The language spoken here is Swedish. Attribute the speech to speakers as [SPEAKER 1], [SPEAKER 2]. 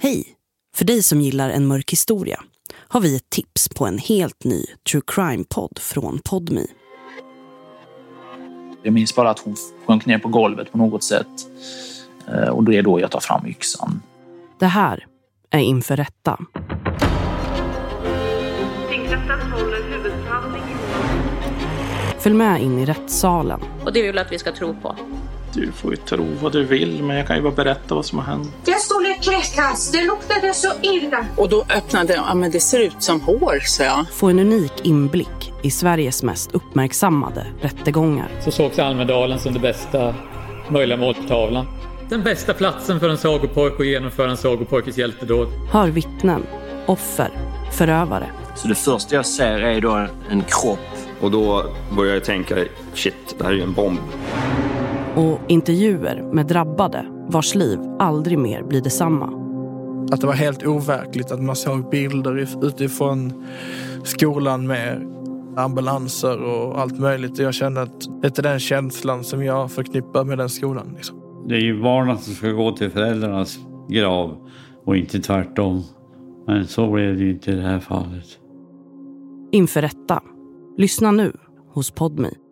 [SPEAKER 1] Hej! För dig som gillar en mörk historia har vi ett tips på en helt ny true crime-podd från Podmi.
[SPEAKER 2] Jag minns bara att hon sjönk ner på golvet på något sätt. Eh, Och det är då jag tar fram yxan.
[SPEAKER 1] Det här är Inför rätta.
[SPEAKER 3] Tingsrätten håller huvudförhandling i målet.
[SPEAKER 1] Följ med in i rättssalen
[SPEAKER 4] Och det vill jag att vi ska tro på.
[SPEAKER 5] Du får ju tro vad du vill, men jag kan ju bara berätta vad som har hänt.
[SPEAKER 6] Där stod det kräkas. Det luktade så illa.
[SPEAKER 7] Och då öppnade jag, ja men det ser ut som hår, sa jag.
[SPEAKER 1] få en unik inblick i Sveriges mest uppmärksammade rättegångar.
[SPEAKER 8] så sågs Almedalen som den bästa möjliga måltavlan. Den bästa platsen för en sagopojke att genomföra en sagopojkes hjältedåd.
[SPEAKER 1] Hör vittnen, offer, förövare.
[SPEAKER 2] Så det första jag ser är då en kropp.
[SPEAKER 9] Och då började jag tänka, shit, det här är ju en bomb.
[SPEAKER 1] och intervjuer med drabbade vars liv aldrig mer blir detsamma.
[SPEAKER 10] Att det var helt overkligt att man såg bilder if- utifrån skolan med ambulanser och allt möjligt. Jag kände att det är den känslan som jag förknippar med den skolan. Liksom.
[SPEAKER 11] Det är ju barnen som ska gå till föräldrarnas grav och inte tvärtom. Men så blev det ju inte i det här fallet.
[SPEAKER 1] Inför rätta. Lyssna nu hos Podmi.